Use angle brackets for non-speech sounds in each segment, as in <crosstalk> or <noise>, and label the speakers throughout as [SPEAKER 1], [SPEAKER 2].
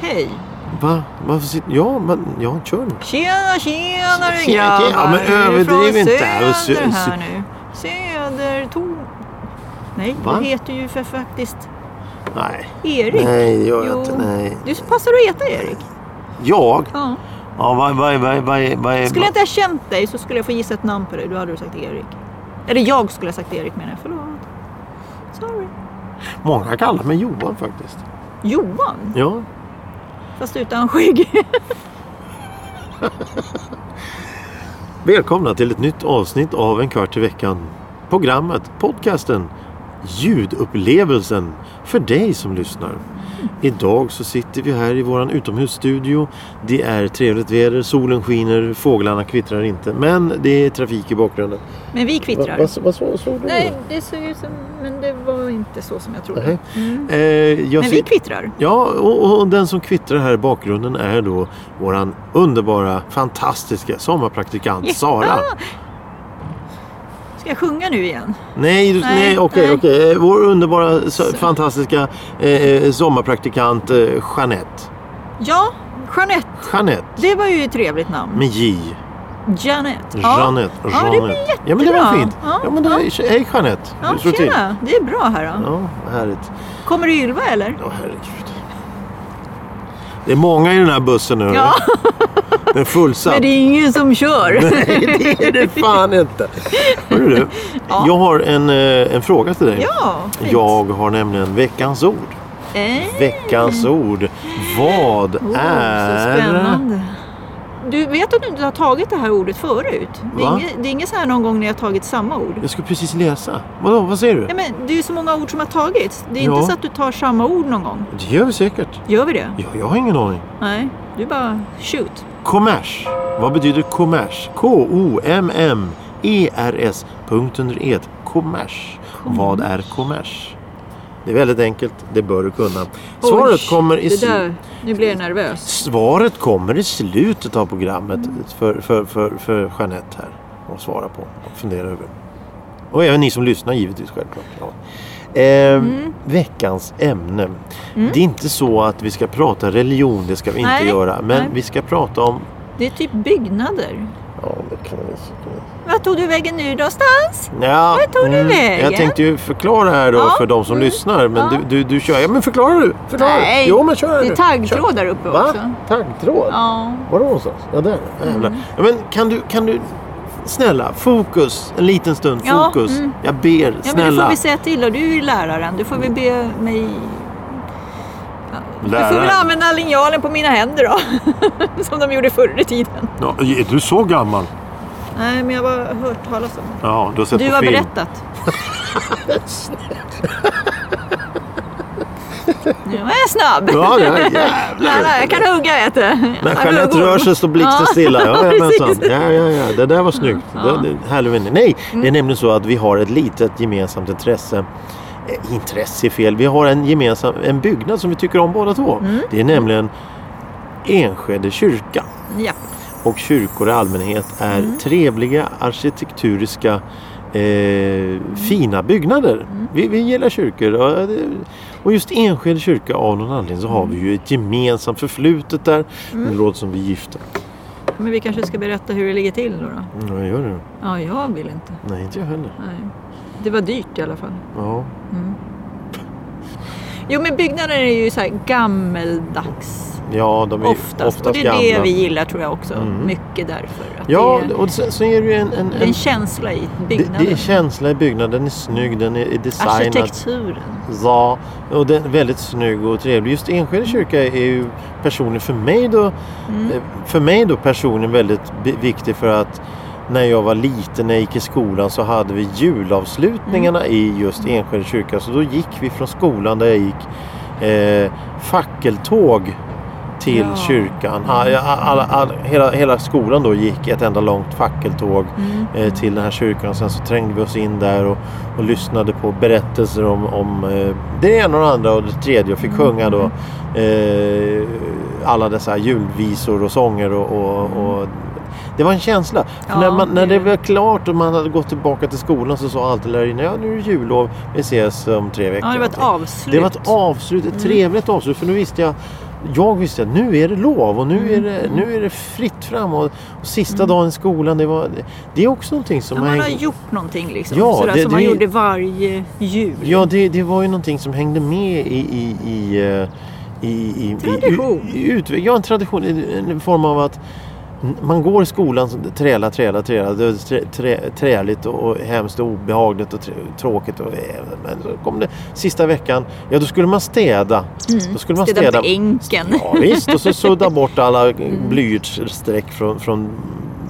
[SPEAKER 1] Hej!
[SPEAKER 2] Va? Varför sitter... Ja, men ja, kör nu.
[SPEAKER 1] Tjena, tjenare
[SPEAKER 2] Tjena, tjena. Ja, men
[SPEAKER 1] grabbar.
[SPEAKER 2] överdriv
[SPEAKER 1] Från
[SPEAKER 2] inte Alltså, här och sö-
[SPEAKER 1] Söder här
[SPEAKER 2] sö-
[SPEAKER 1] nu. Södertorn. Nej,
[SPEAKER 2] Va?
[SPEAKER 1] du heter ju för faktiskt
[SPEAKER 2] Nej.
[SPEAKER 1] Erik.
[SPEAKER 2] Nej, det gör jag
[SPEAKER 1] Jo.
[SPEAKER 2] inte. Nej.
[SPEAKER 1] Du passar att heta Erik.
[SPEAKER 2] Jag?
[SPEAKER 1] Ja.
[SPEAKER 2] Ja, vad, vad, vad, vad, vad,
[SPEAKER 1] Skulle jag inte ha känt dig så skulle jag få gissa ett namn på dig. Då hade du sagt Erik. Eller jag skulle ha sagt Erik menar jag. Förlåt. Sorry.
[SPEAKER 2] Många kallar mig Johan faktiskt.
[SPEAKER 1] Johan,
[SPEAKER 2] Ja.
[SPEAKER 1] fast utan <laughs> skägg.
[SPEAKER 2] Välkomna till ett nytt avsnitt av En kvart i veckan. Programmet, podcasten, ljudupplevelsen för dig som lyssnar. Idag så sitter vi här i våran utomhusstudio. Det är trevligt väder, solen skiner, fåglarna kvittrar inte. Men det är trafik i bakgrunden.
[SPEAKER 1] Men vi
[SPEAKER 2] Va-
[SPEAKER 1] kvittrar.
[SPEAKER 2] Vad vad så- såg du?
[SPEAKER 1] Nej, det såg ut som... Men det var inte så som jag trodde.
[SPEAKER 2] Nej.
[SPEAKER 1] Mm.
[SPEAKER 2] Eh, jag
[SPEAKER 1] Men
[SPEAKER 2] sit-
[SPEAKER 1] vi kvittrar.
[SPEAKER 2] Ja, och, och den som kvittrar här i bakgrunden är då våran underbara, fantastiska sommarpraktikant
[SPEAKER 1] Ja.
[SPEAKER 2] Sara.
[SPEAKER 1] Ska jag sjunga nu igen?
[SPEAKER 2] Nej, du,
[SPEAKER 1] Nej,
[SPEAKER 2] nej, okej,
[SPEAKER 1] nej.
[SPEAKER 2] okej. Eh, Vår underbara, så, fantastiska eh, eh, sommarpraktikant eh, Jeanette.
[SPEAKER 1] Ja, Jeanette.
[SPEAKER 2] Jeanette
[SPEAKER 1] Det var ju ett trevligt namn.
[SPEAKER 2] med J.
[SPEAKER 1] Jeanette.
[SPEAKER 2] Jeanette.
[SPEAKER 1] Ja, det blir
[SPEAKER 2] Jeanette. Ja, men det var
[SPEAKER 1] jättebra.
[SPEAKER 2] fint.
[SPEAKER 1] Ja,
[SPEAKER 2] Ja, men det, Hej Jeanette.
[SPEAKER 1] Ja,
[SPEAKER 2] Du slår till.
[SPEAKER 1] tjena. Det är bra här då.
[SPEAKER 2] Ja, vad härligt.
[SPEAKER 1] Kommer du Ylva eller?
[SPEAKER 2] Ja, herregud. Det är många i den här bussen nu.
[SPEAKER 1] <laughs> Ja.
[SPEAKER 2] Den är fullsatt.
[SPEAKER 1] Men det är ingen som kör.
[SPEAKER 2] Nej, det
[SPEAKER 1] <laughs>
[SPEAKER 2] är det fan inte. Hörru du,
[SPEAKER 1] Ja.
[SPEAKER 2] jag har en, eh, en fråga till dig.
[SPEAKER 1] Ja, fint.
[SPEAKER 2] jag har nämligen veckans ord.
[SPEAKER 1] Eh,
[SPEAKER 2] Veckans ord. Vad
[SPEAKER 1] oh,
[SPEAKER 2] är...
[SPEAKER 1] Så spännande. Du vet att du inte har tagit det här ordet förut? Det är,
[SPEAKER 2] Va?
[SPEAKER 1] inget, det är inget så här någon gång när jag har tagit samma ord.
[SPEAKER 2] Jag skulle precis läsa. Vadå, vad säger du?
[SPEAKER 1] Ja, men det är ju så många ord som har tagits. Det är
[SPEAKER 2] Ja.
[SPEAKER 1] inte så att du tar samma ord någon gång.
[SPEAKER 2] Det gör vi säkert.
[SPEAKER 1] Gör vi det?
[SPEAKER 2] Ja, jag har ingen aning.
[SPEAKER 1] Nej, du bara shoot.
[SPEAKER 2] Kommers. Vad betyder kommers? K-O-M-M-E-R-S. E Punkt under et. Kommers. Vad är kommers? Det är väldigt enkelt. Det bör du kunna. Svaret
[SPEAKER 1] Oj,
[SPEAKER 2] kommer i
[SPEAKER 1] det
[SPEAKER 2] sl-
[SPEAKER 1] där, Nu blir jag nervös.
[SPEAKER 2] Svaret kommer i slutet av programmet för, för, för, för Jeanette här att svara på och fundera över. Och även ni som lyssnar givetvis självklart. Ja. Eh,
[SPEAKER 1] Mm.
[SPEAKER 2] Veckans ämne. Det är inte så att vi ska prata religion, det ska vi inte
[SPEAKER 1] Nej,
[SPEAKER 2] göra. Men
[SPEAKER 1] nej.
[SPEAKER 2] vi ska prata om...
[SPEAKER 1] Det är typ byggnader.
[SPEAKER 2] Ja, det kan vi...
[SPEAKER 1] Vart tog du vägen nu någonstans?
[SPEAKER 2] Ja, mm,
[SPEAKER 1] Vart tog du vägen?
[SPEAKER 2] Jag tänkte ju förklara här då
[SPEAKER 1] Ja,
[SPEAKER 2] för de som
[SPEAKER 1] mm,
[SPEAKER 2] lyssnar. Men
[SPEAKER 1] ja.
[SPEAKER 2] du, du, du kör. Ja, men förklara du! Förklara.
[SPEAKER 1] Nej,
[SPEAKER 2] Jo, men kör
[SPEAKER 1] Det är
[SPEAKER 2] du.
[SPEAKER 1] taggtråd där uppe
[SPEAKER 2] Kör. Va?
[SPEAKER 1] också.
[SPEAKER 2] Taggtråd?
[SPEAKER 1] Ja.
[SPEAKER 2] Var det någonstans? Ja, där.
[SPEAKER 1] Mm.
[SPEAKER 2] Jävlar. Ja, men kan du, kan du... Snälla, fokus. En liten stund.
[SPEAKER 1] Ja,
[SPEAKER 2] Fokus.
[SPEAKER 1] mm.
[SPEAKER 2] Jag ber.
[SPEAKER 1] ja, men det får
[SPEAKER 2] Snälla.
[SPEAKER 1] vi säga till och Du är ju läraren. Du får väl be mig... Du får väl
[SPEAKER 2] Läraren.
[SPEAKER 1] använda linjalen på mina händer då. <laughs> Som de gjorde förr i tiden.
[SPEAKER 2] Ja, är du så gammal?
[SPEAKER 1] Nej, men jag har hört talas om det.
[SPEAKER 2] Ja, du har sett
[SPEAKER 1] Du
[SPEAKER 2] på
[SPEAKER 1] har
[SPEAKER 2] film. <laughs>
[SPEAKER 1] berättat. Nu är jag snabb.
[SPEAKER 2] Ja, ja, jävlar.
[SPEAKER 1] Nej, nej, jag kan hugga vet du.
[SPEAKER 2] När
[SPEAKER 1] Jag
[SPEAKER 2] Jeanette
[SPEAKER 1] hugger.
[SPEAKER 2] rör sig står blixten
[SPEAKER 1] Ja,
[SPEAKER 2] stilla. Ja, jajamensan.
[SPEAKER 1] precis.
[SPEAKER 2] ja, ja, ja. Det där var snyggt.
[SPEAKER 1] Ja. Mm.
[SPEAKER 2] Det, det, härlig vändning. Nej, det är nämligen så att vi har ett litet gemensamt intresse. Eh, Intresse är fel. Vi har en gemensam en byggnad som vi tycker om båda två.
[SPEAKER 1] Mm.
[SPEAKER 2] Det är nämligen Enskede kyrka.
[SPEAKER 1] Ja.
[SPEAKER 2] och kyrkor i allmänhet är
[SPEAKER 1] Mm.
[SPEAKER 2] trevliga arkitekturiska eh, fina
[SPEAKER 1] Mm.
[SPEAKER 2] byggnader. Vi, vi gillar kyrkor. Och, det- och just Enskede kyrka av någon anledning så har vi ju ett gemensamt förflutet där.
[SPEAKER 1] Mm.
[SPEAKER 2] Det låter som vi är gifta.
[SPEAKER 1] Men vi kanske ska berätta hur det ligger till då. då.
[SPEAKER 2] Mm, vad gör du?
[SPEAKER 1] Ja, jag vill inte.
[SPEAKER 2] Nej, inte jag heller.
[SPEAKER 1] Nej. Det var dyrt i alla fall.
[SPEAKER 2] Ja.
[SPEAKER 1] Jo, men byggnader är ju så här gammeldags
[SPEAKER 2] ja, de är ju
[SPEAKER 1] oftast. Och det är
[SPEAKER 2] gamla.
[SPEAKER 1] det vi gillar tror jag också.
[SPEAKER 2] Mm.
[SPEAKER 1] Mycket därför. Att
[SPEAKER 2] Ja,
[SPEAKER 1] det, är,
[SPEAKER 2] och sen, sen är det ju en... en,
[SPEAKER 1] det är
[SPEAKER 2] en
[SPEAKER 1] en känsla i
[SPEAKER 2] det,
[SPEAKER 1] byggnaden.
[SPEAKER 2] det är känsla i byggnaden, den är snygg, den är är designad.
[SPEAKER 1] Arkitekturen.
[SPEAKER 2] Ja, och den är väldigt snygg och trevlig. Just Enskede kyrka är ju personligen för mig då,
[SPEAKER 1] Mm.
[SPEAKER 2] eh, för mig då personligen väldigt bi- viktig för att när jag var liten, när jag gick i skolan så hade vi julavslutningarna i just Enskede kyrka. Så då gick vi från skolan där jag gick eh, fackeltåg till
[SPEAKER 1] Ja.
[SPEAKER 2] kyrkan. Alla, alla, alla, hela, hela skolan då gick ett enda långt fackeltåg
[SPEAKER 1] Mm.
[SPEAKER 2] eh, till den här kyrkan. Sen så trängde vi oss in där och, och lyssnade på berättelser om, om eh, det ena och det andra och det tredje och fick
[SPEAKER 1] Mm.
[SPEAKER 2] sjunga då eh, alla dessa julvisor och sånger och, och, och det var en känsla. För
[SPEAKER 1] Mm. Ja,
[SPEAKER 2] när, man, när
[SPEAKER 1] det
[SPEAKER 2] det
[SPEAKER 1] är det.
[SPEAKER 2] var klart och man hade gått tillbaka till skolan så sa alltid lärarinnan ja nu är det jullov, vi ses om tre veckor.
[SPEAKER 1] Ja, det var ett
[SPEAKER 2] någonting.
[SPEAKER 1] avslut.
[SPEAKER 2] Det var ett avslut,
[SPEAKER 1] Mm.
[SPEAKER 2] ett trevligt avslut för nu visste jag jag visste att nu är det lov och nu är
[SPEAKER 1] Mm.
[SPEAKER 2] det, nu är det fritt fram. Och, och sista dagen i skolan, det, var, det är också någonting som
[SPEAKER 1] Ja, man har
[SPEAKER 2] hängde-
[SPEAKER 1] gjort någonting liksom.
[SPEAKER 2] Ja,
[SPEAKER 1] sådär,
[SPEAKER 2] det-
[SPEAKER 1] som
[SPEAKER 2] det
[SPEAKER 1] man
[SPEAKER 2] är-
[SPEAKER 1] gjorde varje jul.
[SPEAKER 2] Ja, det, det var ju någonting som hängde med i... i, i, eh, i, i
[SPEAKER 1] Tradition.
[SPEAKER 2] I, i, utve- ja, en tradition. En en form av att n- man går i skolan, så träla, träla, träla. Det är trä, trä, träligt och, och hemskt och obehagligt och trä- tråkigt. Och, eh, men så kom det sista veckan. Ja, då skulle man städa. Då skulle man
[SPEAKER 1] Mm. Städa
[SPEAKER 2] städa.
[SPEAKER 1] på änken.
[SPEAKER 2] Ja, visst, och så sudda bort alla blyertsstreck från, från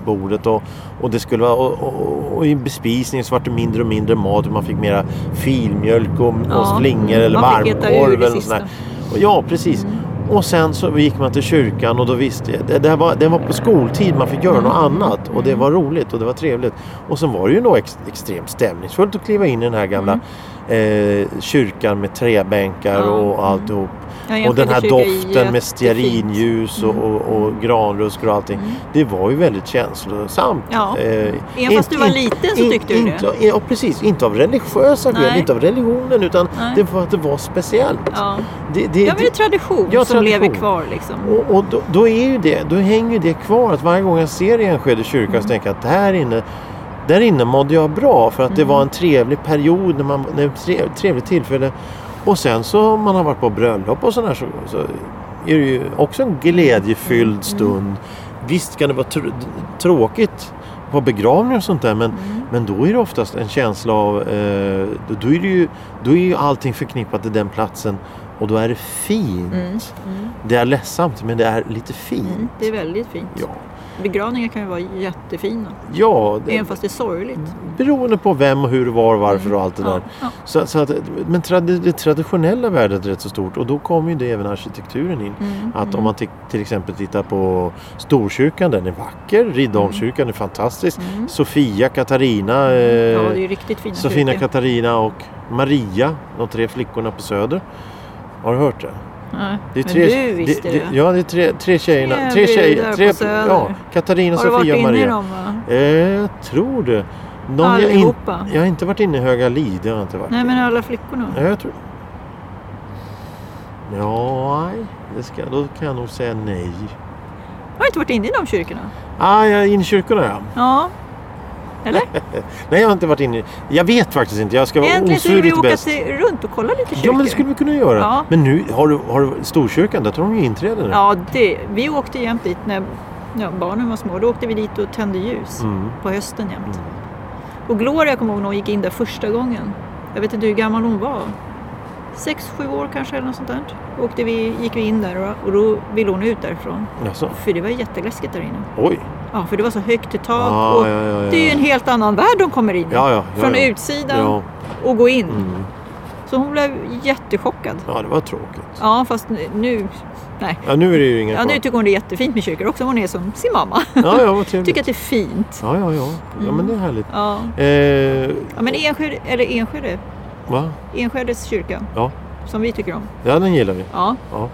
[SPEAKER 2] bordet. Och, och, det skulle vara, och, och, och i bespisningen så vart det mindre och mindre mat. Och man fick mera filmjölk och,
[SPEAKER 1] Ja,
[SPEAKER 2] och flingor eller
[SPEAKER 1] man fick äta ur
[SPEAKER 2] varmkorv.
[SPEAKER 1] det
[SPEAKER 2] Eller något
[SPEAKER 1] sista.
[SPEAKER 2] sånt där. och ja, precis. Och sen så gick man till kyrkan och då visste jag. Det, det, här var, det var på skoltid, man fick göra
[SPEAKER 1] Mm.
[SPEAKER 2] något annat. Och det var roligt och det var trevligt. Och sen var det ju då ex, extremt stämningsfullt att kliva in i den här gamla eh, kyrkan med träbänkar
[SPEAKER 1] Mm. Ja,
[SPEAKER 2] och alltihop.
[SPEAKER 1] Ja, jag
[SPEAKER 2] Och den här
[SPEAKER 1] tycker eh, det Mm. är
[SPEAKER 2] doften med
[SPEAKER 1] jättefint.
[SPEAKER 2] stearinljus och, och, och granrusk och allting. Det var ju väldigt känslosamt.
[SPEAKER 1] Mm. Ja.
[SPEAKER 2] Eh,
[SPEAKER 1] Även fast du var liten så
[SPEAKER 2] in-
[SPEAKER 1] tyckte du det.
[SPEAKER 2] inte, det? Ja, precis. Inte av religiösa skäl,
[SPEAKER 1] Nej.
[SPEAKER 2] inte av religionen utan
[SPEAKER 1] Nej.
[SPEAKER 2] det var att det var speciellt.
[SPEAKER 1] Ja.
[SPEAKER 2] Det, det,
[SPEAKER 1] Ja, men det är tradition
[SPEAKER 2] Ja,
[SPEAKER 1] som
[SPEAKER 2] tradition.
[SPEAKER 1] lever kvar liksom.
[SPEAKER 2] och och då, då, är ju det, då hänger ju det kvar att varje gång jag ser Enskede kyrka så tänker jag att här inne där inne mådde jag bra för att det var en trevlig period, när man, när ett trev, trevligt tillfälle. Och sen så om man har varit på bröllop och sådär så, så är det ju också en glädjefylld stund. Visst kan det vara tr- tråkigt på begravningar och sånt där men,
[SPEAKER 1] Mm,
[SPEAKER 2] men då är det oftast en känsla av, eh, då, är det ju, då är ju allting förknippat till den platsen och då är det fint. Det är ledsamt men det är lite fint.
[SPEAKER 1] Mm, det är väldigt fint.
[SPEAKER 2] Ja,
[SPEAKER 1] Begravningar kan ju vara jättefina.
[SPEAKER 2] ja det,
[SPEAKER 1] Även fast det är sorgligt.
[SPEAKER 2] beroende på vem och hur och var och varför och allt det där.
[SPEAKER 1] Ja.
[SPEAKER 2] Så, så att, men trad- det traditionella värdet är rätt så stort och då kommer ju det även arkitekturen in.
[SPEAKER 1] Mm,
[SPEAKER 2] Att om man ti- till exempel tittar på Storkyrkan, den är vacker. Riddarholmskyrkan är fantastisk. Sofia, Katarina, Mm. eh,
[SPEAKER 1] Mm. Ja, det är ju riktigt fina
[SPEAKER 2] Sofina,
[SPEAKER 1] kyrkor.
[SPEAKER 2] Katarina och Maria, de tre flickorna på Söder. Har du hört det?
[SPEAKER 1] Nej,
[SPEAKER 2] Det är
[SPEAKER 1] men
[SPEAKER 2] tre,
[SPEAKER 1] du visste det.
[SPEAKER 2] det, det. Ja, det är tre, tre tjejerna.
[SPEAKER 1] Tre
[SPEAKER 2] Tre
[SPEAKER 1] brudar
[SPEAKER 2] tjejer.
[SPEAKER 1] på
[SPEAKER 2] Tre,
[SPEAKER 1] Söder.
[SPEAKER 2] ja, Katarina,
[SPEAKER 1] Har du varit
[SPEAKER 2] Sofia och
[SPEAKER 1] inne i
[SPEAKER 2] Maria.
[SPEAKER 1] dem va?
[SPEAKER 2] Eh, jag tror det. Någon jag, in,
[SPEAKER 1] Allihopa?
[SPEAKER 2] jag har inte varit inne i Höga Lid. Jag har inte varit
[SPEAKER 1] Nej,
[SPEAKER 2] i.
[SPEAKER 1] men alla flickorna.
[SPEAKER 2] Ja, jag tror Ja, nej. Det ska, då kan jag nog säga nej.
[SPEAKER 1] Har du inte varit inne i de kyrkorna?
[SPEAKER 2] Ah, jag är inne i kyrkorna ja.
[SPEAKER 1] Ja. Eller?
[SPEAKER 2] Nej, jag har inte varit inne i... Jag vet faktiskt inte. Jag ska vara
[SPEAKER 1] Egentligen skulle vi
[SPEAKER 2] osvurit
[SPEAKER 1] åka
[SPEAKER 2] bäst.
[SPEAKER 1] till, runt och kolla lite kyrkor.
[SPEAKER 2] Ja, men det skulle vi kunna göra.
[SPEAKER 1] Ja.
[SPEAKER 2] Men nu, har du, har du Storkyrkan, där tar de ju inträde nu.
[SPEAKER 1] Ja, det, vi åkte jämt dit när ja, barnen var små. Då åkte vi dit och tände ljus
[SPEAKER 2] Mm.
[SPEAKER 1] på hösten jämt. Och Gloria, jag kommer ihåg när hon gick in där första gången. Jag vet inte hur gammal hon var. Sex, sju år kanske eller något sånt där. Då Åkte vi, gick vi in där och, och då ville hon ut därifrån.
[SPEAKER 2] Jaså?
[SPEAKER 1] För det var jätteläskigt där inne.
[SPEAKER 2] Oj.
[SPEAKER 1] Ja, för det var så högt i tak
[SPEAKER 2] Ja,
[SPEAKER 1] och
[SPEAKER 2] ja, ja, ja.
[SPEAKER 1] det är ju en helt annan värld de kommer in i.
[SPEAKER 2] Ja, ja, ja,
[SPEAKER 1] Från
[SPEAKER 2] ja.
[SPEAKER 1] utsidan
[SPEAKER 2] Ja.
[SPEAKER 1] och gå in.
[SPEAKER 2] Mm.
[SPEAKER 1] Så hon blev jättechockad.
[SPEAKER 2] ja, det var tråkigt.
[SPEAKER 1] Ja, fast nu... Nej.
[SPEAKER 2] Ja, nu är det ju inga
[SPEAKER 1] Ja, nu
[SPEAKER 2] kvar.
[SPEAKER 1] tycker hon det är jättefint med kyrkor också. Hon är som sin mamma.
[SPEAKER 2] Ja, ja, vad trevligt.
[SPEAKER 1] Tycker Mm. att det är fint.
[SPEAKER 2] Ja, ja, ja. Ja, men det är härligt.
[SPEAKER 1] Ja,
[SPEAKER 2] Eh,
[SPEAKER 1] ja men Enskede, eller Enskede,
[SPEAKER 2] va?
[SPEAKER 1] Enskedes kyrka
[SPEAKER 2] Ja.
[SPEAKER 1] som vi tycker om.
[SPEAKER 2] ja, den gillar vi.
[SPEAKER 1] Ja,
[SPEAKER 2] Ja.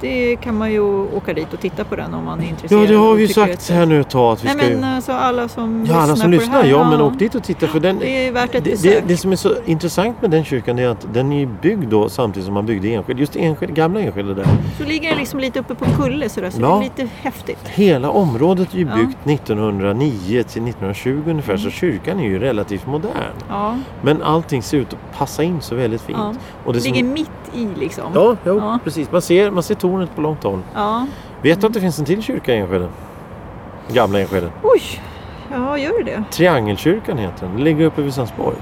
[SPEAKER 1] det kan man ju åka dit och titta på den om man är intresserad.
[SPEAKER 2] Ja, det har vi ju
[SPEAKER 1] och tycker
[SPEAKER 2] sagt
[SPEAKER 1] att-
[SPEAKER 2] här nu ett tag att vi
[SPEAKER 1] Nej,
[SPEAKER 2] ska ju...
[SPEAKER 1] men alltså alla som
[SPEAKER 2] Ja, alla som
[SPEAKER 1] på
[SPEAKER 2] lyssnar.
[SPEAKER 1] det här,
[SPEAKER 2] Ja, men åk dit och titta. För den,
[SPEAKER 1] Det är värt ett
[SPEAKER 2] det,
[SPEAKER 1] besök.
[SPEAKER 2] det, det som är så intressant med den kyrkan är att den är byggd då samtidigt som man byggde Enskede. Just Enskede, gamla Enskede där.
[SPEAKER 1] Så ligger den liksom lite uppe på en kulle sådär, så
[SPEAKER 2] Ja.
[SPEAKER 1] det är lite häftigt.
[SPEAKER 2] Hela området är ju
[SPEAKER 1] Ja. Mm.
[SPEAKER 2] byggt 1909 till 1920 ungefär så kyrkan är ju relativt modern.
[SPEAKER 1] Ja,
[SPEAKER 2] Men allting ser ut att passa in så väldigt fint.
[SPEAKER 1] Ja.
[SPEAKER 2] Och det som-
[SPEAKER 1] ligger mitt i liksom.
[SPEAKER 2] Ja, jo,
[SPEAKER 1] Ja.
[SPEAKER 2] precis. Man ser, man ser tornet på långt håll.
[SPEAKER 1] ja.
[SPEAKER 2] Vet du att det finns en till kyrka i Enskede? Gamla Enskede.
[SPEAKER 1] Oj, ja gör det det?
[SPEAKER 2] Triangelkyrkan heter den. Den ligger uppe vid Sandsborg.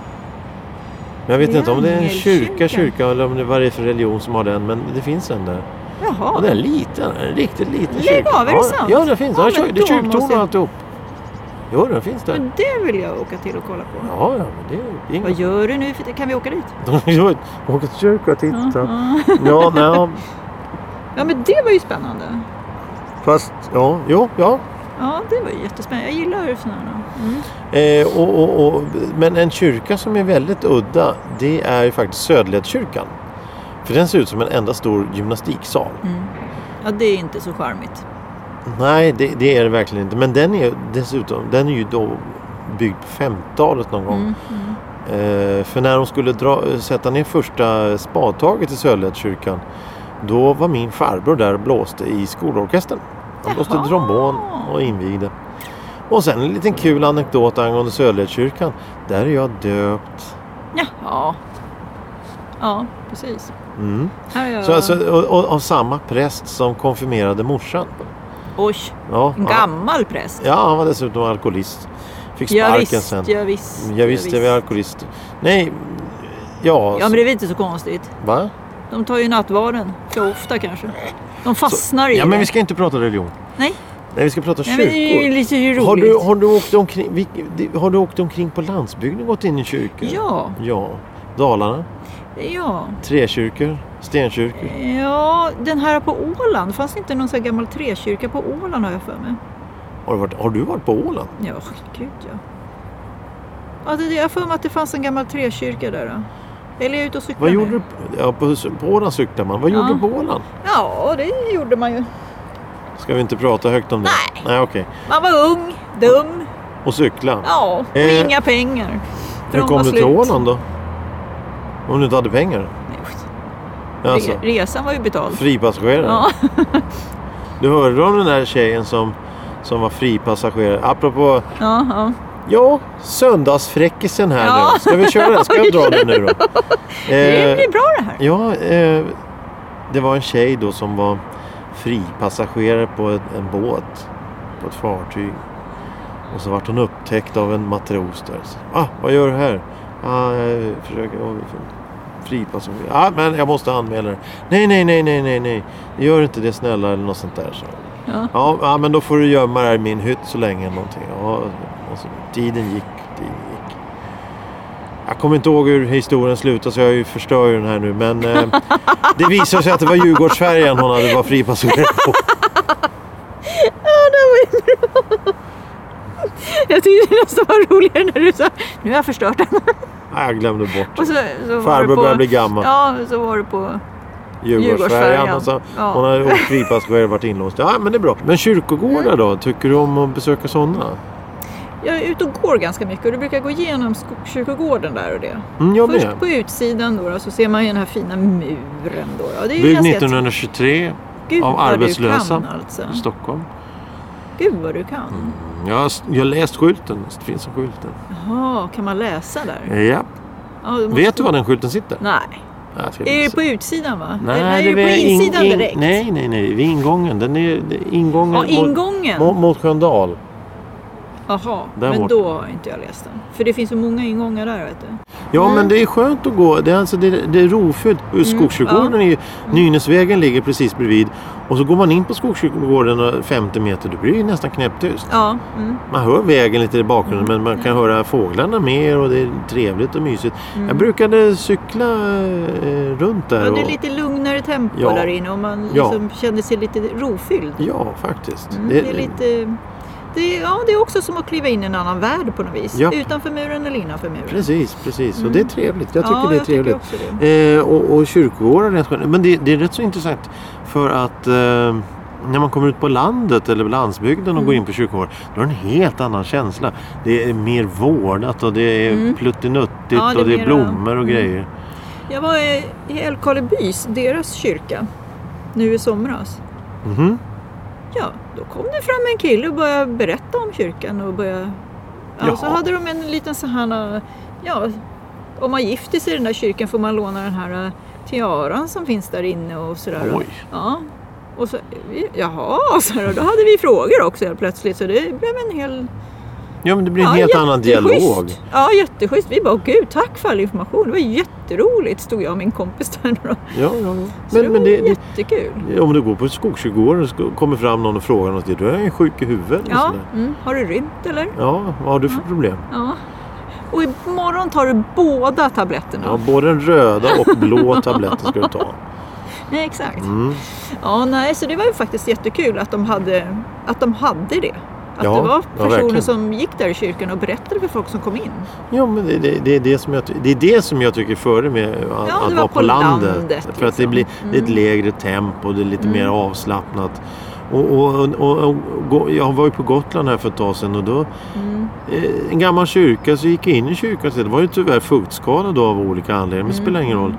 [SPEAKER 2] Men jag vet inte om det är en kyrka,
[SPEAKER 1] Triangelkyrkan.
[SPEAKER 2] kyrka eller om det vad det är för religion som har den. Men det finns en där.
[SPEAKER 1] Jaha.
[SPEAKER 2] Och den är liten. En riktigt liten
[SPEAKER 1] Lägg
[SPEAKER 2] kyrka.
[SPEAKER 1] av, är det
[SPEAKER 2] ja,
[SPEAKER 1] sant?
[SPEAKER 2] Ja, den finns.
[SPEAKER 1] Ja,
[SPEAKER 2] Ja,
[SPEAKER 1] men
[SPEAKER 2] det
[SPEAKER 1] då
[SPEAKER 2] är kyrktorn
[SPEAKER 1] måste jag-
[SPEAKER 2] och alltihop. Jo, den finns där.
[SPEAKER 1] Men det vill jag åka till och kolla på.
[SPEAKER 2] Ja, ja, men det är
[SPEAKER 1] Vad
[SPEAKER 2] inget.
[SPEAKER 1] gör du nu? Kan vi åka dit?
[SPEAKER 2] De har ju åkt till kyrka och titta.
[SPEAKER 1] Ja.
[SPEAKER 2] Ja, nej, ja.
[SPEAKER 1] Ja men det var ju spännande.
[SPEAKER 2] Fast, ja, jo, ja.
[SPEAKER 1] Ja det var ju jättespännande. Jag gillar ju sådana. här. Mm.
[SPEAKER 2] Eh, och, och, och, men en kyrka som är väldigt udda, det är ju faktiskt Söderledskyrkan. För den ser ut som en enda stor gymnastiksal.
[SPEAKER 1] Mm. Ja det är inte så charmigt.
[SPEAKER 2] Nej, det, det är det verkligen inte. Men den är dessutom, den är ju då byggd på 50-talet någon gång.
[SPEAKER 1] Mm. Mm.
[SPEAKER 2] Eh, för när de skulle dra, sätta ner första spadtaget i Söderledskyrkan då var min farbror där och blåste i skolorkestern. Han blåste
[SPEAKER 1] Jaha.
[SPEAKER 2] trombon och invigde. Och sen en liten kul anekdot angående Söderledskyrkan. Där är jag döpt.
[SPEAKER 1] Jaha. Ja precis.
[SPEAKER 2] Mm.
[SPEAKER 1] Här är jag.
[SPEAKER 2] Så, alltså, och, och, av samma präst som konfirmerade morsan.
[SPEAKER 1] Oj,
[SPEAKER 2] Ja,
[SPEAKER 1] en
[SPEAKER 2] han,
[SPEAKER 1] gammal präst.
[SPEAKER 2] ja, han var dessutom alkoholist. Fick
[SPEAKER 1] Ja,
[SPEAKER 2] sparken
[SPEAKER 1] visst,
[SPEAKER 2] sen.
[SPEAKER 1] ja, visst,
[SPEAKER 2] Jag visste jag var alkoholist. Nej, ja.
[SPEAKER 1] Ja men det är väl inte så konstigt.
[SPEAKER 2] Va?
[SPEAKER 1] De tar ju nattvarden för ofta kanske. De fastnar i
[SPEAKER 2] Ja,
[SPEAKER 1] det.
[SPEAKER 2] men vi ska inte prata religion.
[SPEAKER 1] Nej,
[SPEAKER 2] Nej, vi ska prata
[SPEAKER 1] Nej men det är ju
[SPEAKER 2] kyrkor.
[SPEAKER 1] lite ju roligt.
[SPEAKER 2] Har du, har, du åkt omkring, vilk- det- har du åkt omkring på landsbygden och gått in i kyrkor?
[SPEAKER 1] Ja,
[SPEAKER 2] Ja. Dalarna,
[SPEAKER 1] ja.
[SPEAKER 2] träkyrkor, stenkyrkor.
[SPEAKER 1] Ja, den här på Åland. Fanns det inte någon sån här gammal träkyrka på Åland har jag för mig?
[SPEAKER 2] Har du varit, har du varit på Åland?
[SPEAKER 1] Ja, gud ja. ja det, jag har för mig att det fanns en gammal träkyrka där. Då. Eller är jag ute och cyklar
[SPEAKER 2] Vad
[SPEAKER 1] nu?
[SPEAKER 2] gjorde du? på- Ja, på, på Åland cyklar man. Vad
[SPEAKER 1] Ja.
[SPEAKER 2] gjorde du på Åland?
[SPEAKER 1] Ja, det gjorde man ju.
[SPEAKER 2] Ska vi inte prata högt om det? Nej. Nej, okej.
[SPEAKER 1] Man var ung, dum,
[SPEAKER 2] Och cykla.
[SPEAKER 1] ja, och
[SPEAKER 2] Eh,
[SPEAKER 1] inga pengar. För
[SPEAKER 2] Hur
[SPEAKER 1] de
[SPEAKER 2] kom
[SPEAKER 1] var
[SPEAKER 2] du till
[SPEAKER 1] slut.
[SPEAKER 2] Åland då? Om du inte hade pengar?
[SPEAKER 1] Nej, skit.
[SPEAKER 2] Alltså,
[SPEAKER 1] Re- Resan var ju betald.
[SPEAKER 2] fripassagerare?
[SPEAKER 1] Ja.
[SPEAKER 2] Du hörde om den där tjejen som, som var fripassagerare? Apropå,
[SPEAKER 1] Ja,
[SPEAKER 2] Eh,
[SPEAKER 1] ja.
[SPEAKER 2] ja, söndagsfräckisen här
[SPEAKER 1] Ja.
[SPEAKER 2] nu. Ska vi köra den? Ska
[SPEAKER 1] <laughs>
[SPEAKER 2] jag dra den nu då?
[SPEAKER 1] Det
[SPEAKER 2] Eh,
[SPEAKER 1] blir bra det här.
[SPEAKER 2] ja, eh, det var en tjej då som var fripassagerare på ett, en båt, på ett fartyg. Och så vart hon upptäckt av en matros där. Så, ah, vad gör du här? Ah, jag försöker vara fripassagerare. Ah, men jag måste anmäla det. Nej, nej, nej, nej, nej, nej. Gör inte det snälla eller något sånt där. Så.
[SPEAKER 1] Ja.
[SPEAKER 2] Ja, ja, men då får du gömma dig i min hytt så länge. eller Någonting. Ja, och så, tiden gick, tiden gick. Jag kommer inte ihåg hur historien slutar så jag ju förstör ju den här nu. Men eh, det visade sig att det var Djurgårdsfärjan hon hade varit fripassagerare på.
[SPEAKER 1] Jag tyckte det nästan var roligare när du sa nu har jag förstört den.
[SPEAKER 2] Nej, jag glömde
[SPEAKER 1] Och
[SPEAKER 2] bort.
[SPEAKER 1] så, så var du
[SPEAKER 2] Farbror
[SPEAKER 1] på,
[SPEAKER 2] börjar bli gammal.
[SPEAKER 1] Ja, så var du på... Djurgårdsfärjan.
[SPEAKER 2] Djurgårdsfärjan. Och så,
[SPEAKER 1] Ja.
[SPEAKER 2] Hon hade åkt fripassagerare och varit inlåst. Ja, men det är bra. Men kyrkogårdar då? Tycker du om att besöka sådana?
[SPEAKER 1] Jag är ute och går ganska mycket och du brukar gå igenom Skogskyrkogården där och det.
[SPEAKER 2] Mm, jag
[SPEAKER 1] Först
[SPEAKER 2] med.
[SPEAKER 1] på utsidan då, då så ser man ju den här fina muren då. då. Det är ju
[SPEAKER 2] Byggd
[SPEAKER 1] ganska-
[SPEAKER 2] 1923
[SPEAKER 1] Gud,
[SPEAKER 2] av
[SPEAKER 1] vad du
[SPEAKER 2] arbetslösa. Mm.
[SPEAKER 1] Kan, alltså.
[SPEAKER 2] i Stockholm.
[SPEAKER 1] Gud vad du kan.
[SPEAKER 2] Jag har, jag har läst skylten. Det finns en skylt där.
[SPEAKER 1] Jaha, kan man läsa där?
[SPEAKER 2] Ja.
[SPEAKER 1] Ja, det måste-
[SPEAKER 2] Eh, Vet du var den skylten sitter?
[SPEAKER 1] Nej.
[SPEAKER 2] Nej, jag ska
[SPEAKER 1] Är
[SPEAKER 2] inte
[SPEAKER 1] det
[SPEAKER 2] säga.
[SPEAKER 1] på utsidan va?
[SPEAKER 2] Nej,
[SPEAKER 1] är det
[SPEAKER 2] det
[SPEAKER 1] på
[SPEAKER 2] är in-
[SPEAKER 1] insidan
[SPEAKER 2] in-
[SPEAKER 1] direkt?
[SPEAKER 2] Nej, nej, nej. Vid ingången. Den är, det är ingången,
[SPEAKER 1] Ja,
[SPEAKER 2] Mot,
[SPEAKER 1] ingången.
[SPEAKER 2] mot, mot Sköndal.
[SPEAKER 1] Jaha,
[SPEAKER 2] Där
[SPEAKER 1] men
[SPEAKER 2] borta.
[SPEAKER 1] då har inte jag läst den. För det finns så många ingångar där vet du.
[SPEAKER 2] Ja,
[SPEAKER 1] Mm.
[SPEAKER 2] men det är skönt att gå. Det är, alltså, det är, det är rofyllt. Skogskyrkogården är ju...
[SPEAKER 1] Mm.
[SPEAKER 2] Nynäsvägen ligger precis bredvid. Och så går man in på Skogskyrkogården och 50 meter. Då blir det ju nästan knäpptyst.
[SPEAKER 1] Ja, mm.
[SPEAKER 2] Man hör vägen lite i bakgrunden men man kan höra fåglarna mer och det är trevligt och mysigt. Jag brukade cykla eh, runt där.
[SPEAKER 1] Men mm. det är
[SPEAKER 2] och...
[SPEAKER 1] lite lugnare tempo
[SPEAKER 2] Ja.
[SPEAKER 1] där inne och man
[SPEAKER 2] Ja.
[SPEAKER 1] liksom känner sig lite rofylld.
[SPEAKER 2] Ja, faktiskt.
[SPEAKER 1] Mm, det, är lite... Det, är- ja, det är också som att kliva in i en annan värld på något vis.
[SPEAKER 2] Japp.
[SPEAKER 1] Utanför muren eller innanför muren.
[SPEAKER 2] Precis, precis. Och det är trevligt. Jag tycker
[SPEAKER 1] Mm. ja,
[SPEAKER 2] det är
[SPEAKER 1] jag
[SPEAKER 2] trevligt.
[SPEAKER 1] Tycker också det.
[SPEAKER 2] Eh, och, och kyrkogårdar är rätt skönt. Men det, det är rätt så intressant för att eh, när man kommer ut på landet eller på landsbygden och går
[SPEAKER 1] Mm.
[SPEAKER 2] in på kyrkogård då är det en helt annan känsla. Det är mer vårdat och det är pluttinuttigt
[SPEAKER 1] Mm. Ja, det Mm. är
[SPEAKER 2] och det är
[SPEAKER 1] mera-
[SPEAKER 2] blommor och grejer.
[SPEAKER 1] Jag var i i Älvkarlebys, deras kyrka, nu i somras.
[SPEAKER 2] Mhm.
[SPEAKER 1] Ja, då kom det fram en kille och började berätta om kyrkan och började... Ja, så
[SPEAKER 2] Jaha.
[SPEAKER 1] hade de en liten sån här... äh, Ja, om man gifter sig i den där kyrkan får man låna den här äh, tiaran som finns där inne och sådär.
[SPEAKER 2] Oj.
[SPEAKER 1] Ja. Och så, jaha, så här, och då hade vi frågor också helt plötsligt så det blev en hel...
[SPEAKER 2] Ja, men det blir en helt annan
[SPEAKER 1] jätteschysst.
[SPEAKER 2] dialog.
[SPEAKER 1] Ja, jätteschysst. Vi bara, gud tack för all information, det var jätteroligt, stod jag och min kompis där nu då.
[SPEAKER 2] Ja, ja, ja.
[SPEAKER 1] Så
[SPEAKER 2] Men,
[SPEAKER 1] det
[SPEAKER 2] men
[SPEAKER 1] var
[SPEAKER 2] det, det,
[SPEAKER 1] jättekul.
[SPEAKER 2] om du går på skogskyrkogården och sk- kommer fram någon och frågar något, då är jag ju sjuk i huvudet. och
[SPEAKER 1] Ja,
[SPEAKER 2] sådär.
[SPEAKER 1] mm, har du rymt eller?
[SPEAKER 2] ja, vad har du för problem?
[SPEAKER 1] Ja. Och imorgon tar du båda tabletterna.
[SPEAKER 2] Ja, både den röda och blå tabletten ska du ta.
[SPEAKER 1] Nej, exakt.
[SPEAKER 2] Mm.
[SPEAKER 1] Ja, nej, så det var ju faktiskt jättekul att de hade, att de hade det. Att
[SPEAKER 2] Ja,
[SPEAKER 1] det var
[SPEAKER 2] ja,
[SPEAKER 1] personer
[SPEAKER 2] verkligen.
[SPEAKER 1] som gick där i kyrkan och berättade för folk som kom in.
[SPEAKER 2] Ja, men det, det, det, är det, som jag, ty- det är det som jag tycker är före med att,
[SPEAKER 1] det
[SPEAKER 2] att
[SPEAKER 1] var på
[SPEAKER 2] vara på landet.
[SPEAKER 1] landet,
[SPEAKER 2] för att det
[SPEAKER 1] liksom. Mm.
[SPEAKER 2] blir det är ett lägre tempo, det är lite mer avslappnat. Och, och, och, och, och, gå- jag var ju på Gotland här för ett tag sedan och då
[SPEAKER 1] Mm.
[SPEAKER 2] eh, en gammal kyrka, så gick jag in i kyrkan. Så det var ju tyvärr fuktskada då av olika anledningar, men det spelar
[SPEAKER 1] Mm.
[SPEAKER 2] ingen roll.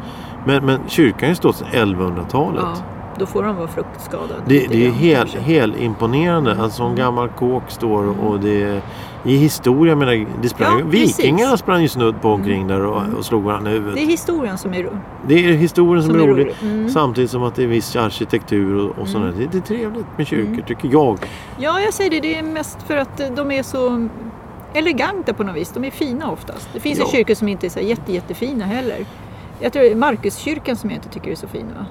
[SPEAKER 2] Men, men kyrkan har ju stått sedan 1100-talet.
[SPEAKER 1] Ja, då får de vara fruktskadade.
[SPEAKER 2] Det, det är
[SPEAKER 1] igen,
[SPEAKER 2] hel,
[SPEAKER 1] kanske. Mm.
[SPEAKER 2] hel imponerande. Alltså, En sån gammal kåk står och det är i historia. Menar, det sprang,
[SPEAKER 1] Ja, precis. Mm.
[SPEAKER 2] vikingarna sprang ju snudd på omkring där och, och slog varandra i huvudet.
[SPEAKER 1] Det är historien som är, ro-
[SPEAKER 2] Det är historien som,
[SPEAKER 1] som
[SPEAKER 2] är rolig.
[SPEAKER 1] Mm.
[SPEAKER 2] Samtidigt som att det är viss arkitektur och, och sådär. Det, det är trevligt med kyrkor
[SPEAKER 1] Mm.
[SPEAKER 2] tycker jag.
[SPEAKER 1] Ja, jag säger det. Det är mest för att eh, de är så eleganta på något vis. De är fina oftast. Det finns ju
[SPEAKER 2] Ja.
[SPEAKER 1] kyrkor som inte är så här jätte, jättefina heller. Jag tror det är Markuskyrkan som jag inte tycker är så fin va?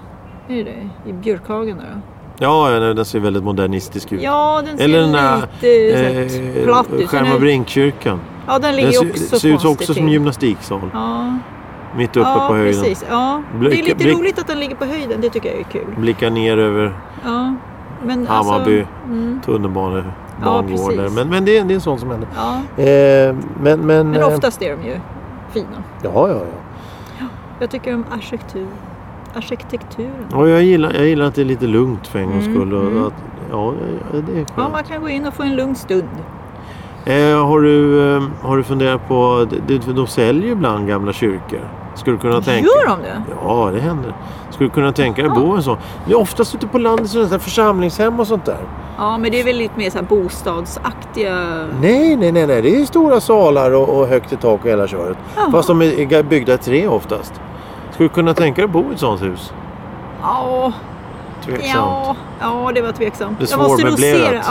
[SPEAKER 1] Är det det? I Björkhagen där då?
[SPEAKER 2] Ja, ja, nej, den ser väldigt modernistisk ut.
[SPEAKER 1] Ja, den ser
[SPEAKER 2] Mm. Eller den där
[SPEAKER 1] lite så här platt ut. Den
[SPEAKER 2] Skärma
[SPEAKER 1] är-
[SPEAKER 2] Brinkkyrkan.
[SPEAKER 1] Ja, den
[SPEAKER 2] Den
[SPEAKER 1] ligger
[SPEAKER 2] ser,
[SPEAKER 1] ju också
[SPEAKER 2] ser ut
[SPEAKER 1] konstigt
[SPEAKER 2] också som en
[SPEAKER 1] till.
[SPEAKER 2] gymnastiksal.
[SPEAKER 1] Ja,
[SPEAKER 2] Mitt uppe
[SPEAKER 1] ja
[SPEAKER 2] på höjden.
[SPEAKER 1] precis. Ja. Det är
[SPEAKER 2] Blick-
[SPEAKER 1] lite
[SPEAKER 2] blick-
[SPEAKER 1] roligt att den ligger på höjden. Det tycker jag är kul.
[SPEAKER 2] Blickar ner över
[SPEAKER 1] Ja, men
[SPEAKER 2] Hammarby.
[SPEAKER 1] Alltså, mm,
[SPEAKER 2] tunnelbanegårdar.
[SPEAKER 1] precis.
[SPEAKER 2] men men det, är- det är sånt som händer.
[SPEAKER 1] ja.
[SPEAKER 2] Eh, men men,
[SPEAKER 1] Men
[SPEAKER 2] eh,
[SPEAKER 1] oftast är de ju fina.
[SPEAKER 2] ja, ja, ja.
[SPEAKER 1] Jag tycker om arkitektur. arkitekturen.
[SPEAKER 2] Och jag, gillar, jag gillar att det är lite lugnt för en gångs
[SPEAKER 1] Mm,
[SPEAKER 2] skull. Och
[SPEAKER 1] mm.
[SPEAKER 2] Att, ja, ja, det är
[SPEAKER 1] Ja,
[SPEAKER 2] skönt.
[SPEAKER 1] man kan gå in och få en lugn stund.
[SPEAKER 2] eh, har, du, eh, har du funderat på... De, de säljer ju ibland gamla kyrkor. Skulle du kunna tänka
[SPEAKER 1] Gör de det?
[SPEAKER 2] Ja, det händer. Skulle du kunna tänka dig att bo i en sån? Det är oftast ute på landet, sådana där församlingshem och sånt där.
[SPEAKER 1] Ja, men det är väl lite mer så här bostadsaktiga...
[SPEAKER 2] Nej, nej, nej, nej. Det är stora salar och, och högt i tak och hela köret.
[SPEAKER 1] Jaha.
[SPEAKER 2] Fast de är är byggda i tre oftast. Skulle du kunna tänka dig att bo i ett sånt hus?
[SPEAKER 1] Ja,
[SPEAKER 2] Tveksamt.
[SPEAKER 1] ja, ja, det var tveksamt.
[SPEAKER 2] Det är
[SPEAKER 1] Jag måste nog se det.
[SPEAKER 2] svårmöblerat.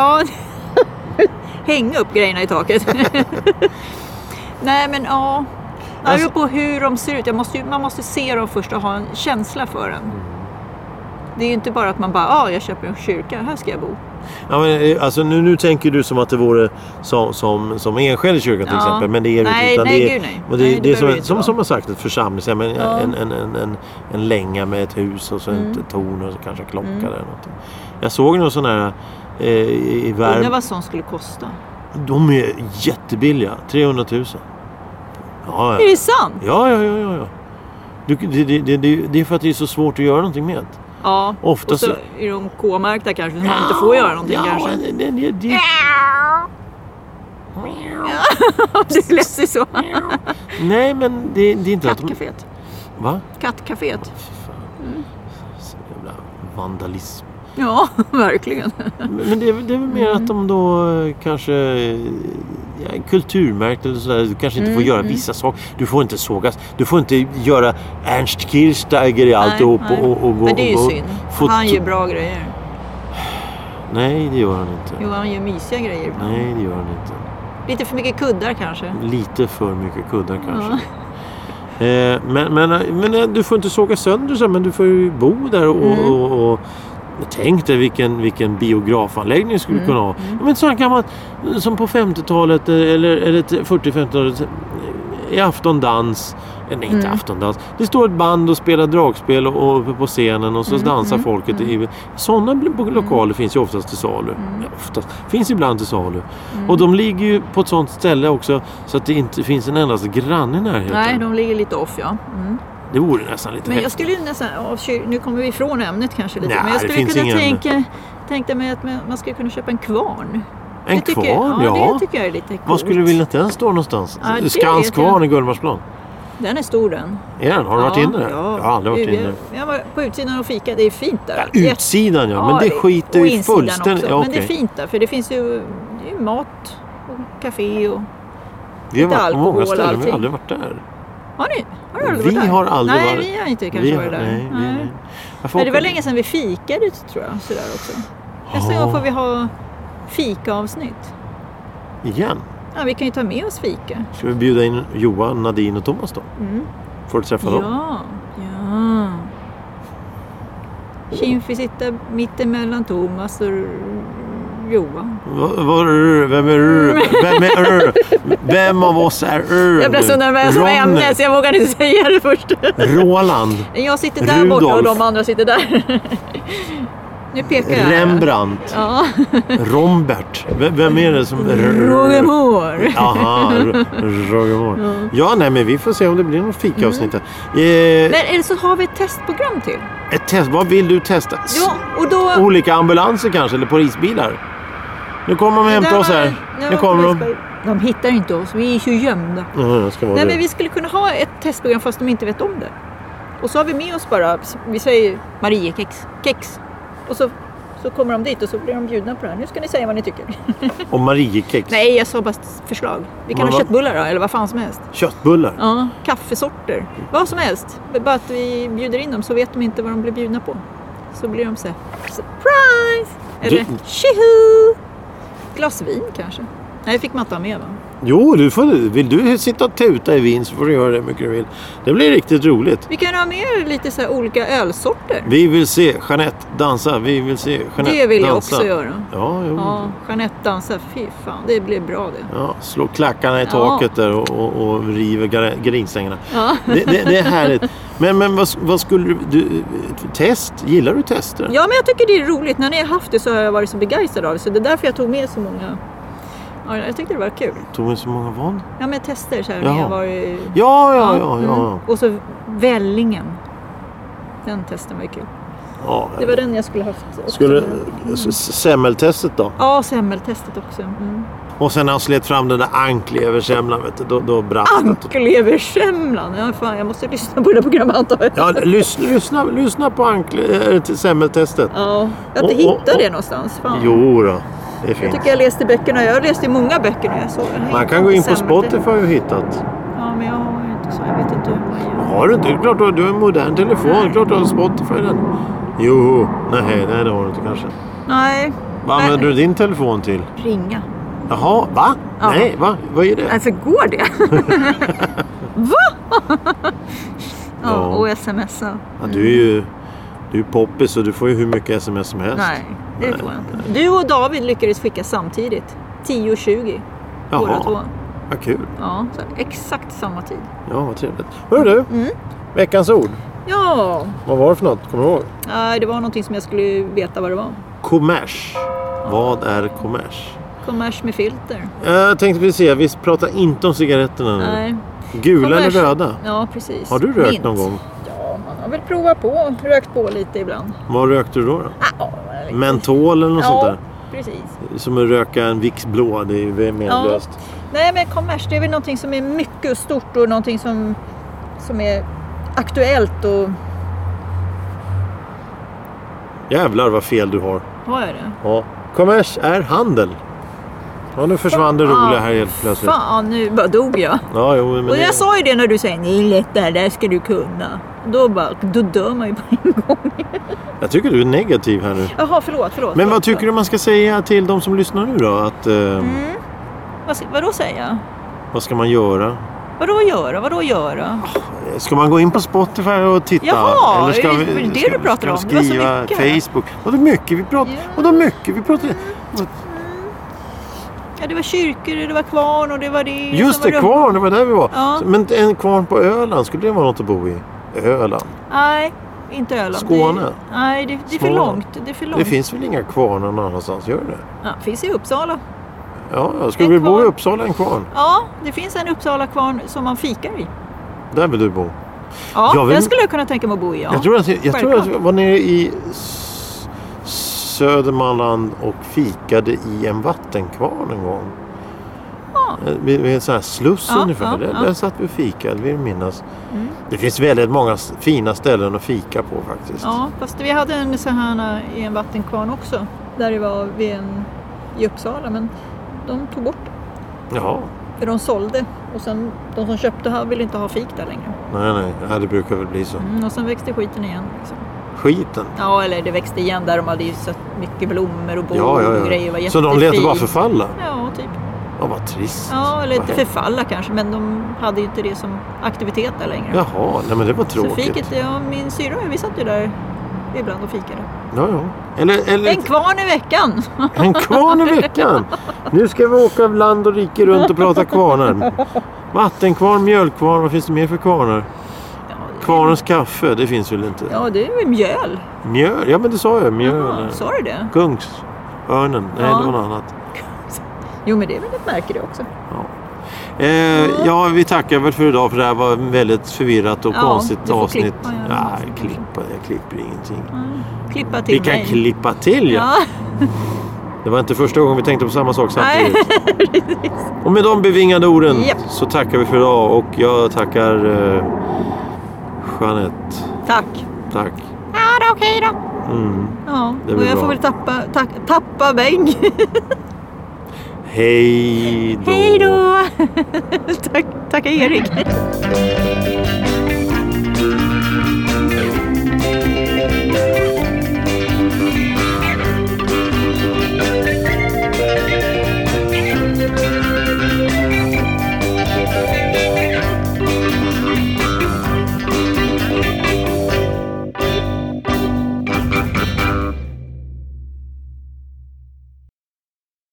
[SPEAKER 1] Ja. <laughs> Hänga upp grejerna i taket. <laughs> Nej, men ja. Det
[SPEAKER 2] Alltså-
[SPEAKER 1] beror på hur de ser ut. Jag måste ju, man måste se dem först och ha en känsla för
[SPEAKER 2] Mm.
[SPEAKER 1] den. Det är ju inte bara att man bara, ja, jag köper en kyrka, här ska jag bo.
[SPEAKER 2] Ja, men, eh, alltså, nu, nu tänker du som att det vore som, som, som enskild kyrka till
[SPEAKER 1] Ja.
[SPEAKER 2] exempel. Men det är det
[SPEAKER 1] Nej,
[SPEAKER 2] inte. utan
[SPEAKER 1] nej,
[SPEAKER 2] det är,
[SPEAKER 1] gud, nej.
[SPEAKER 2] men det,
[SPEAKER 1] Nej,
[SPEAKER 2] är-
[SPEAKER 1] det
[SPEAKER 2] det är som,
[SPEAKER 1] behöver det
[SPEAKER 2] ett-
[SPEAKER 1] inte
[SPEAKER 2] som,
[SPEAKER 1] vara.
[SPEAKER 2] som har sagt ett församlingshem. En,
[SPEAKER 1] Ja. Mm.
[SPEAKER 2] en, en, en, en, en länga med ett hus och så ett torn och så kanske en klocka eller någonting. Jag såg någon sån här eh, i i
[SPEAKER 1] Undrar
[SPEAKER 2] Värmland.
[SPEAKER 1] vad sånt skulle kosta.
[SPEAKER 2] De är jättebilliga. 300 000. Ja,
[SPEAKER 1] Är
[SPEAKER 2] ja.
[SPEAKER 1] det sant?
[SPEAKER 2] Ja, ja, ja. ja, ja. Du, det, det, det, det det är för att det är så svårt att göra någonting med.
[SPEAKER 1] Ja,
[SPEAKER 2] Ofta
[SPEAKER 1] och så
[SPEAKER 2] så-
[SPEAKER 1] är de K-märkta kanske så man inte får göra någonting
[SPEAKER 2] ja,
[SPEAKER 1] kanske.
[SPEAKER 2] Det, det, det, det,
[SPEAKER 1] <laughs> Det lät ju så.
[SPEAKER 2] nej, men det, det är inte att de...
[SPEAKER 1] Kattcaféet.
[SPEAKER 2] Va?
[SPEAKER 1] Kattcaféet.
[SPEAKER 2] Fan.
[SPEAKER 1] Mm.
[SPEAKER 2] Så jävla vandalism.
[SPEAKER 1] Ja, <laughs> verkligen.
[SPEAKER 2] Men det är, väl- det är väl mer att de då eh, kanske eh, ja, kulturmärkt eller sådär. Du kanske
[SPEAKER 1] Mm,
[SPEAKER 2] inte får göra vissa saker. Du får inte sågas. Du får inte göra Ernst Kirchsteiger i alltihop.
[SPEAKER 1] nej.
[SPEAKER 2] Och, och, och, gå-
[SPEAKER 1] Men det är ju
[SPEAKER 2] och, gå-
[SPEAKER 1] synd.
[SPEAKER 2] fot-
[SPEAKER 1] Han gör bra grejer.
[SPEAKER 2] Nej, det gör han inte.
[SPEAKER 1] Jo, han gör mysiga grejer ibland.
[SPEAKER 2] Nej, det gör han inte.
[SPEAKER 1] Lite för mycket kuddar kanske.
[SPEAKER 2] Lite för mycket kuddar kanske. Eh, men, men, eh, men eh, du får inte såga sönder så här, men du får ju bo där och,
[SPEAKER 1] Mm.
[SPEAKER 2] och, och Tänk dig vilken, vilken biografanläggning du skulle
[SPEAKER 1] Mm,
[SPEAKER 2] kunna ha. Ja, Men sådant gammalt som på 50-talet eh, eller, eller till 40-50-talet eh, i aftondans. eh, Nej,
[SPEAKER 1] Mm.
[SPEAKER 2] inte aftondans. Det står ett band och spelar dragspel och, och uppe på scenen och så
[SPEAKER 1] Mm,
[SPEAKER 2] dansar folket. i Sådana bl- bo- lokaler finns ju oftast till salu.
[SPEAKER 1] Mm.
[SPEAKER 2] Ja, oftast. Finns ibland till salu. Och de ligger ju på ett sådant ställe också så att det inte finns en endast granne i närheten.
[SPEAKER 1] Nej, de ligger lite off ja. Mm.
[SPEAKER 2] Det vore nästan lite
[SPEAKER 1] Men jag
[SPEAKER 2] häftigt.
[SPEAKER 1] skulle ju nästan, ja, kyr- nu kommer vi ifrån ämnet kanske lite,
[SPEAKER 2] Nej,
[SPEAKER 1] men
[SPEAKER 2] det
[SPEAKER 1] jag skulle
[SPEAKER 2] finns
[SPEAKER 1] kunna
[SPEAKER 2] ingen-
[SPEAKER 1] tänka, tänkte mig att man man skulle kunna köpa en kvarn.
[SPEAKER 2] En
[SPEAKER 1] Det tycker-
[SPEAKER 2] kvarn, ja.
[SPEAKER 1] Det tycker jag är lite coolt.
[SPEAKER 2] Vad skulle du vilja att den står någonstans?
[SPEAKER 1] Ja, det vet jag.
[SPEAKER 2] Skanskvarn i Gullmarsplan.
[SPEAKER 1] Den är stor den.
[SPEAKER 2] Är den? Har du varit inne där?
[SPEAKER 1] Ja,
[SPEAKER 2] Jag har aldrig varit
[SPEAKER 1] Gud,
[SPEAKER 2] inne där.
[SPEAKER 1] Jag, jag var på utsidan och fika, det är fint där. Jätte-
[SPEAKER 2] Utsidan ja, men det skiter
[SPEAKER 1] och
[SPEAKER 2] ju
[SPEAKER 1] insidan
[SPEAKER 2] fullständigt.
[SPEAKER 1] också.
[SPEAKER 2] Ja,
[SPEAKER 1] Men det är
[SPEAKER 2] okej.
[SPEAKER 1] fint där, för det finns ju, det är ju mat och café och...
[SPEAKER 2] Vi har
[SPEAKER 1] lite
[SPEAKER 2] varit på
[SPEAKER 1] alkohol
[SPEAKER 2] många
[SPEAKER 1] och
[SPEAKER 2] ställen, vi
[SPEAKER 1] allting.
[SPEAKER 2] har aldrig varit där.
[SPEAKER 1] Har ni? Har ni aldrig
[SPEAKER 2] Vi
[SPEAKER 1] varit där?
[SPEAKER 2] har aldrig
[SPEAKER 1] nej,
[SPEAKER 2] varit-
[SPEAKER 1] Nej, vi har inte kanske
[SPEAKER 2] Vi har-
[SPEAKER 1] varit där.
[SPEAKER 2] nej, vi-
[SPEAKER 1] Nej.
[SPEAKER 2] Jag får
[SPEAKER 1] Men det
[SPEAKER 2] åka-
[SPEAKER 1] var länge sedan vi fikade tror jag. Sådär också. Nästa
[SPEAKER 2] Ja.
[SPEAKER 1] gång får vi ha fikaavsnitt.
[SPEAKER 2] Igen?
[SPEAKER 1] Ja, vi kan ju ta med oss fika.
[SPEAKER 2] Ska vi bjuda in Johan, Nadine och Thomas då?
[SPEAKER 1] Mm.
[SPEAKER 2] Får du träffa dem?
[SPEAKER 1] Ja, ja. Kim får sitta mittemellan Thomas och Johan.
[SPEAKER 2] Va- Var är Vem är du? Vem är du? Vem av oss är du?
[SPEAKER 1] Mm. Jag blev så nervös
[SPEAKER 2] Ronny,
[SPEAKER 1] med ämnet så jag vågade inte säga det först.
[SPEAKER 2] Roland.
[SPEAKER 1] Jag sitter där borta och
[SPEAKER 2] Rudolf.
[SPEAKER 1] de andra sitter där. Nu pekar jag.
[SPEAKER 2] Rembrandt.
[SPEAKER 1] Ja.
[SPEAKER 2] Rombert. V- Vem är det som...
[SPEAKER 1] Roger Moore.
[SPEAKER 2] Aha, R- Roger Moore. Ja, nej men vi får se om det blir något fikaavsnitt här.
[SPEAKER 1] Mm.
[SPEAKER 2] Eh,
[SPEAKER 1] Men eller så har vi ett testprogram till.
[SPEAKER 2] ett test, vad vill du testa? S-
[SPEAKER 1] Ja, och då...
[SPEAKER 2] Olika ambulanser kanske, eller polisbilar? Nu kommer de och hämtar oss här. Nu kommer de.
[SPEAKER 1] de. De hittar inte oss, vi är ju gömda.
[SPEAKER 2] Jaha, jag ska vara
[SPEAKER 1] Nej, men
[SPEAKER 2] det.
[SPEAKER 1] vi skulle kunna ha ett testprogram fast de inte vet om det. Och så har vi med oss bara, vi säger Mariekex, kex. Och så, så kommer de dit och så blir de bjudna på det här. Nu ska ni säga vad ni tycker.
[SPEAKER 2] Och Mariekex.
[SPEAKER 1] Nej, jag sa bara s- förslag. Vi kan
[SPEAKER 2] Men
[SPEAKER 1] ha
[SPEAKER 2] vad-
[SPEAKER 1] köttbullar då, eller vad fan som helst.
[SPEAKER 2] Köttbullar.
[SPEAKER 1] Ja, kaffesorter. Vad som helst. B- Bara att vi bjuder in dem så vet de inte vad de blir bjudna på. Så blir de så här, surprise! Eller
[SPEAKER 2] Du-
[SPEAKER 1] tjoho! Glas vin kanske. Nej, det fick man inte ha med va?
[SPEAKER 2] Jo, du får, vill du sitta och tuta i vin så får du göra det hur mycket du vill. Det blir riktigt roligt.
[SPEAKER 1] Vi kan ha med lite så här olika ölsorter.
[SPEAKER 2] Vi vill se Jeanette dansa. Vi vill se Jeanette
[SPEAKER 1] Det vill jag
[SPEAKER 2] dansa.
[SPEAKER 1] också göra.
[SPEAKER 2] Ja, jo. Ja.
[SPEAKER 1] Ja, Jeanette dansar. Fy fan, det blir bra det.
[SPEAKER 2] slå klackarna i
[SPEAKER 1] Ja.
[SPEAKER 2] taket där och, och, och river gar- gardinstängerna.
[SPEAKER 1] Ja.
[SPEAKER 2] Det, det, det är härligt. Men, men vad, vad skulle du- du... Test? Gillar du tester?
[SPEAKER 1] ja, men jag tycker det är roligt. När ni har haft det så har jag varit så begeistrad av det. Så det är därför jag tog med så många. Ja, jag tyckte det var kul.
[SPEAKER 2] Tog ni så många vad?
[SPEAKER 1] Ja, men tester så här.
[SPEAKER 2] Jaha.
[SPEAKER 1] när Jag var i...
[SPEAKER 2] Ja, ja, ja.
[SPEAKER 1] mm.
[SPEAKER 2] ja,
[SPEAKER 1] Och så Vällingen. Den testen var ju kul.
[SPEAKER 2] ja.
[SPEAKER 1] Det var den jag skulle haft. också.
[SPEAKER 2] Skulle, s- s- semmeltestet då?
[SPEAKER 1] Ja, semmeltestet också. Mm.
[SPEAKER 2] Och sen när han slet fram den där ankleversemlan, vet du, då, då brast det.
[SPEAKER 1] Ankeleversemlan. Ja, fan, jag måste lyssna på det programmet antar jag.
[SPEAKER 2] Ja, lyssna, lyssna, lyssna på ankle, äh, till semmeltestet.
[SPEAKER 1] Ja, jag har
[SPEAKER 2] Och-
[SPEAKER 1] inte
[SPEAKER 2] och-
[SPEAKER 1] hittat det
[SPEAKER 2] och-
[SPEAKER 1] någonstans. Fan.
[SPEAKER 2] Jo då, det
[SPEAKER 1] Jag
[SPEAKER 2] finns.
[SPEAKER 1] tycker jag läste böckerna. Jag läste många böcker när jag såg den.
[SPEAKER 2] Man kan gå in på Spotify och hittat.
[SPEAKER 1] Ja, men jag har ju inte så. Jag vet inte hur man gör.
[SPEAKER 2] Har du inte? Det är klart du har, du har en modern telefon. klart du har Spotify i den. Jo, nej, nej det har du inte kanske.
[SPEAKER 1] Nej.
[SPEAKER 2] Vad använder du din telefon till?
[SPEAKER 1] Ringa.
[SPEAKER 2] Jaha, va?
[SPEAKER 1] Ja.
[SPEAKER 2] Nej, va? Vad är det?
[SPEAKER 1] Alltså, går det?
[SPEAKER 2] <laughs>
[SPEAKER 1] Va?
[SPEAKER 2] Ja.
[SPEAKER 1] ja, och smsa.
[SPEAKER 2] Ja, du är ju du är poppis och du får ju hur mycket sms som helst.
[SPEAKER 1] Nej, det får jag inte. Du och David lyckades skicka samtidigt. 10.20. Båda två.
[SPEAKER 2] Jaha, vad kul.
[SPEAKER 1] Ja, så exakt samma tid.
[SPEAKER 2] Ja, vad trevligt. Hörru du,
[SPEAKER 1] Mm.
[SPEAKER 2] veckans ord.
[SPEAKER 1] Ja,
[SPEAKER 2] Vad var det för något? Kommer du ihåg?
[SPEAKER 1] nej, det var någonting som jag skulle veta vad det var.
[SPEAKER 2] Kommers. Vad är kommers?
[SPEAKER 1] Kommers med filter.
[SPEAKER 2] Jag tänkte vi se, vi pratar inte om cigaretterna nu.
[SPEAKER 1] Nej.
[SPEAKER 2] Gula
[SPEAKER 1] Kommers.
[SPEAKER 2] eller röda?
[SPEAKER 1] Ja, precis.
[SPEAKER 2] Har du rökt
[SPEAKER 1] Mint.
[SPEAKER 2] någon gång?
[SPEAKER 1] Ja, man har väl provat på. Rökt på lite ibland.
[SPEAKER 2] Vad rökte du då? då?
[SPEAKER 1] Ja, lite.
[SPEAKER 2] Mentol eller något
[SPEAKER 1] ja,
[SPEAKER 2] sånt
[SPEAKER 1] precis.
[SPEAKER 2] där? Som att röka en Vicks blå, det är ju menlöst.
[SPEAKER 1] Nej, men kommers det är väl någonting som är mycket och stort och någonting som, som är aktuellt. Och...
[SPEAKER 2] Jävlar vad fel du har.
[SPEAKER 1] Har jag det?
[SPEAKER 2] Ja. Kommers är handel. Ja, nu försvann det roliga här helt plötsligt.
[SPEAKER 1] Ah, Fan, nu bara dog jag.
[SPEAKER 2] Ja, jo, men
[SPEAKER 1] Och
[SPEAKER 2] det-
[SPEAKER 1] jag sa ju det när du säger det är lätt det här, det här ska du kunna. Då, bara, då dör man ju på <laughs> en gång.
[SPEAKER 2] jag tycker du är negativ här nu.
[SPEAKER 1] Jaha, förlåt, förlåt.
[SPEAKER 2] Men vad tycker du man ska säga till de som lyssnar nu då? Att, eh,
[SPEAKER 1] Mm. Vad, ska- vadå säga?
[SPEAKER 2] Vad ska man göra?
[SPEAKER 1] Vadå göra? Vadå göra?
[SPEAKER 2] Ska man gå in på Spotify och titta?
[SPEAKER 1] Jaha, är det- är det det du pratar om?
[SPEAKER 2] ska vi
[SPEAKER 1] Det var så
[SPEAKER 2] skriva
[SPEAKER 1] mycket här.
[SPEAKER 2] Facebook? Vadå mycket? Vi pratar...
[SPEAKER 1] Ja. Mm.
[SPEAKER 2] Vadå mycket? Vi pratar...
[SPEAKER 1] Ja, det var kyrkor, det var kvarn och det var det.
[SPEAKER 2] Just
[SPEAKER 1] sen
[SPEAKER 2] det,
[SPEAKER 1] var
[SPEAKER 2] kvarn. Det var där vi var.
[SPEAKER 1] Ja.
[SPEAKER 2] Så- Men en kvarn på Öland, skulle det vara något att bo i? Öland?
[SPEAKER 1] Nej, inte Öland.
[SPEAKER 2] Skåne?
[SPEAKER 1] Det, nej, det, det är för
[SPEAKER 2] Småland?
[SPEAKER 1] långt. Det är för långt.
[SPEAKER 2] Det finns väl inga kvarnar någon annanstans? Gör det?
[SPEAKER 1] Ja, finns i Uppsala.
[SPEAKER 2] Ja, jag skulle
[SPEAKER 1] En
[SPEAKER 2] vilja bo i
[SPEAKER 1] kvarn.
[SPEAKER 2] Uppsala, en kvarn.
[SPEAKER 1] Ja, det finns en Uppsala-kvarn som man fikar i.
[SPEAKER 2] Där vill du bo.
[SPEAKER 1] Ja,
[SPEAKER 2] Jag vill-
[SPEAKER 1] den skulle jag kunna tänka mig att bo i. Ja.
[SPEAKER 2] jag tror att jag, tror att jag
[SPEAKER 1] självklart.
[SPEAKER 2] var nere i S- Södermanland och fikade i en vattenkvarn en gång.
[SPEAKER 1] Ja.
[SPEAKER 2] Eh, Vid, vid en sån här sluss
[SPEAKER 1] Ja,
[SPEAKER 2] ungefär.
[SPEAKER 1] ja,
[SPEAKER 2] där,
[SPEAKER 1] ja. Mm.
[SPEAKER 2] där satt vi och fikade, vill jag minnas. Det finns väldigt många s- fina ställen att fika på faktiskt.
[SPEAKER 1] Ja, fast vi hade en sån här eh, i en vattenkvarn också. Där det var vid en, i Uppsala, men de tog bort det.
[SPEAKER 2] Jaha.
[SPEAKER 1] För de sålde och sen de som köpte här ville inte ha fik där längre.
[SPEAKER 2] Nej, nej. Ja, det brukar väl bli så.
[SPEAKER 1] Mm, och sen växte skiten igen. Liksom.
[SPEAKER 2] Skiten.
[SPEAKER 1] Ja, eller det växte igen där de hade ju så mycket blommor och bord
[SPEAKER 2] Ja,
[SPEAKER 1] och
[SPEAKER 2] ja,
[SPEAKER 1] grejer. Det Var
[SPEAKER 2] ja. Så de lät det
[SPEAKER 1] jättefint.
[SPEAKER 2] bara förfalla?
[SPEAKER 1] Ja, typ.
[SPEAKER 2] Ja, vad trist.
[SPEAKER 1] Ja, eller
[SPEAKER 2] Vad
[SPEAKER 1] inte
[SPEAKER 2] hemskt.
[SPEAKER 1] förfalla kanske, men de hade ju inte det som aktivitet där längre.
[SPEAKER 2] Jaha, nej men det var
[SPEAKER 1] så
[SPEAKER 2] tråkigt.
[SPEAKER 1] fiket, ja, min syrra och jag, vi satt ju där ibland och fikade.
[SPEAKER 2] Ja, ja. Eller, eller
[SPEAKER 1] En kvarn i veckan!
[SPEAKER 2] en kvarn i veckan. Nu ska vi åka land och rike runt och prata kvarnar. Vattenkvarn, mjölkkvarn, vad finns det mer för kvarnar? Kvarnens kaffe, det finns väl inte?
[SPEAKER 1] Ja, det är ju mjöl.
[SPEAKER 2] Mjöl, ja men det sa jag. Mjöl.
[SPEAKER 1] Jaha, Sa du det?
[SPEAKER 2] Kungsörnen, nej
[SPEAKER 1] Ja.
[SPEAKER 2] det var något annat.
[SPEAKER 1] Jo, men det är väl ett märke det också.
[SPEAKER 2] Eh, ja, vi tackar väl för idag för det här var väldigt förvirrat och
[SPEAKER 1] Ja,
[SPEAKER 2] konstigt
[SPEAKER 1] du får
[SPEAKER 2] avsnitt.
[SPEAKER 1] klippa, ja.
[SPEAKER 2] Nej, klippa, jag klipper ingenting.
[SPEAKER 1] Klippa till
[SPEAKER 2] Vi kan
[SPEAKER 1] mig.
[SPEAKER 2] klippa till ja.
[SPEAKER 1] Ja,
[SPEAKER 2] Det var inte första gången vi tänkte på samma sak
[SPEAKER 1] Nej.
[SPEAKER 2] samtidigt. och med de bevingade orden
[SPEAKER 1] Japp.
[SPEAKER 2] så tackar vi för idag och jag tackar eh, Jeanette.
[SPEAKER 1] <laughs> tack.
[SPEAKER 2] Tack.
[SPEAKER 1] Ja, då, okej då.
[SPEAKER 2] Mm.
[SPEAKER 1] Ja,
[SPEAKER 2] Det
[SPEAKER 1] och
[SPEAKER 2] blir
[SPEAKER 1] jag
[SPEAKER 2] bra.
[SPEAKER 1] får väl tappa, tack, tappa bänk. <laughs>
[SPEAKER 2] Hej
[SPEAKER 1] <laughs>
[SPEAKER 2] då.
[SPEAKER 1] Hej då! tack, tacka Erik.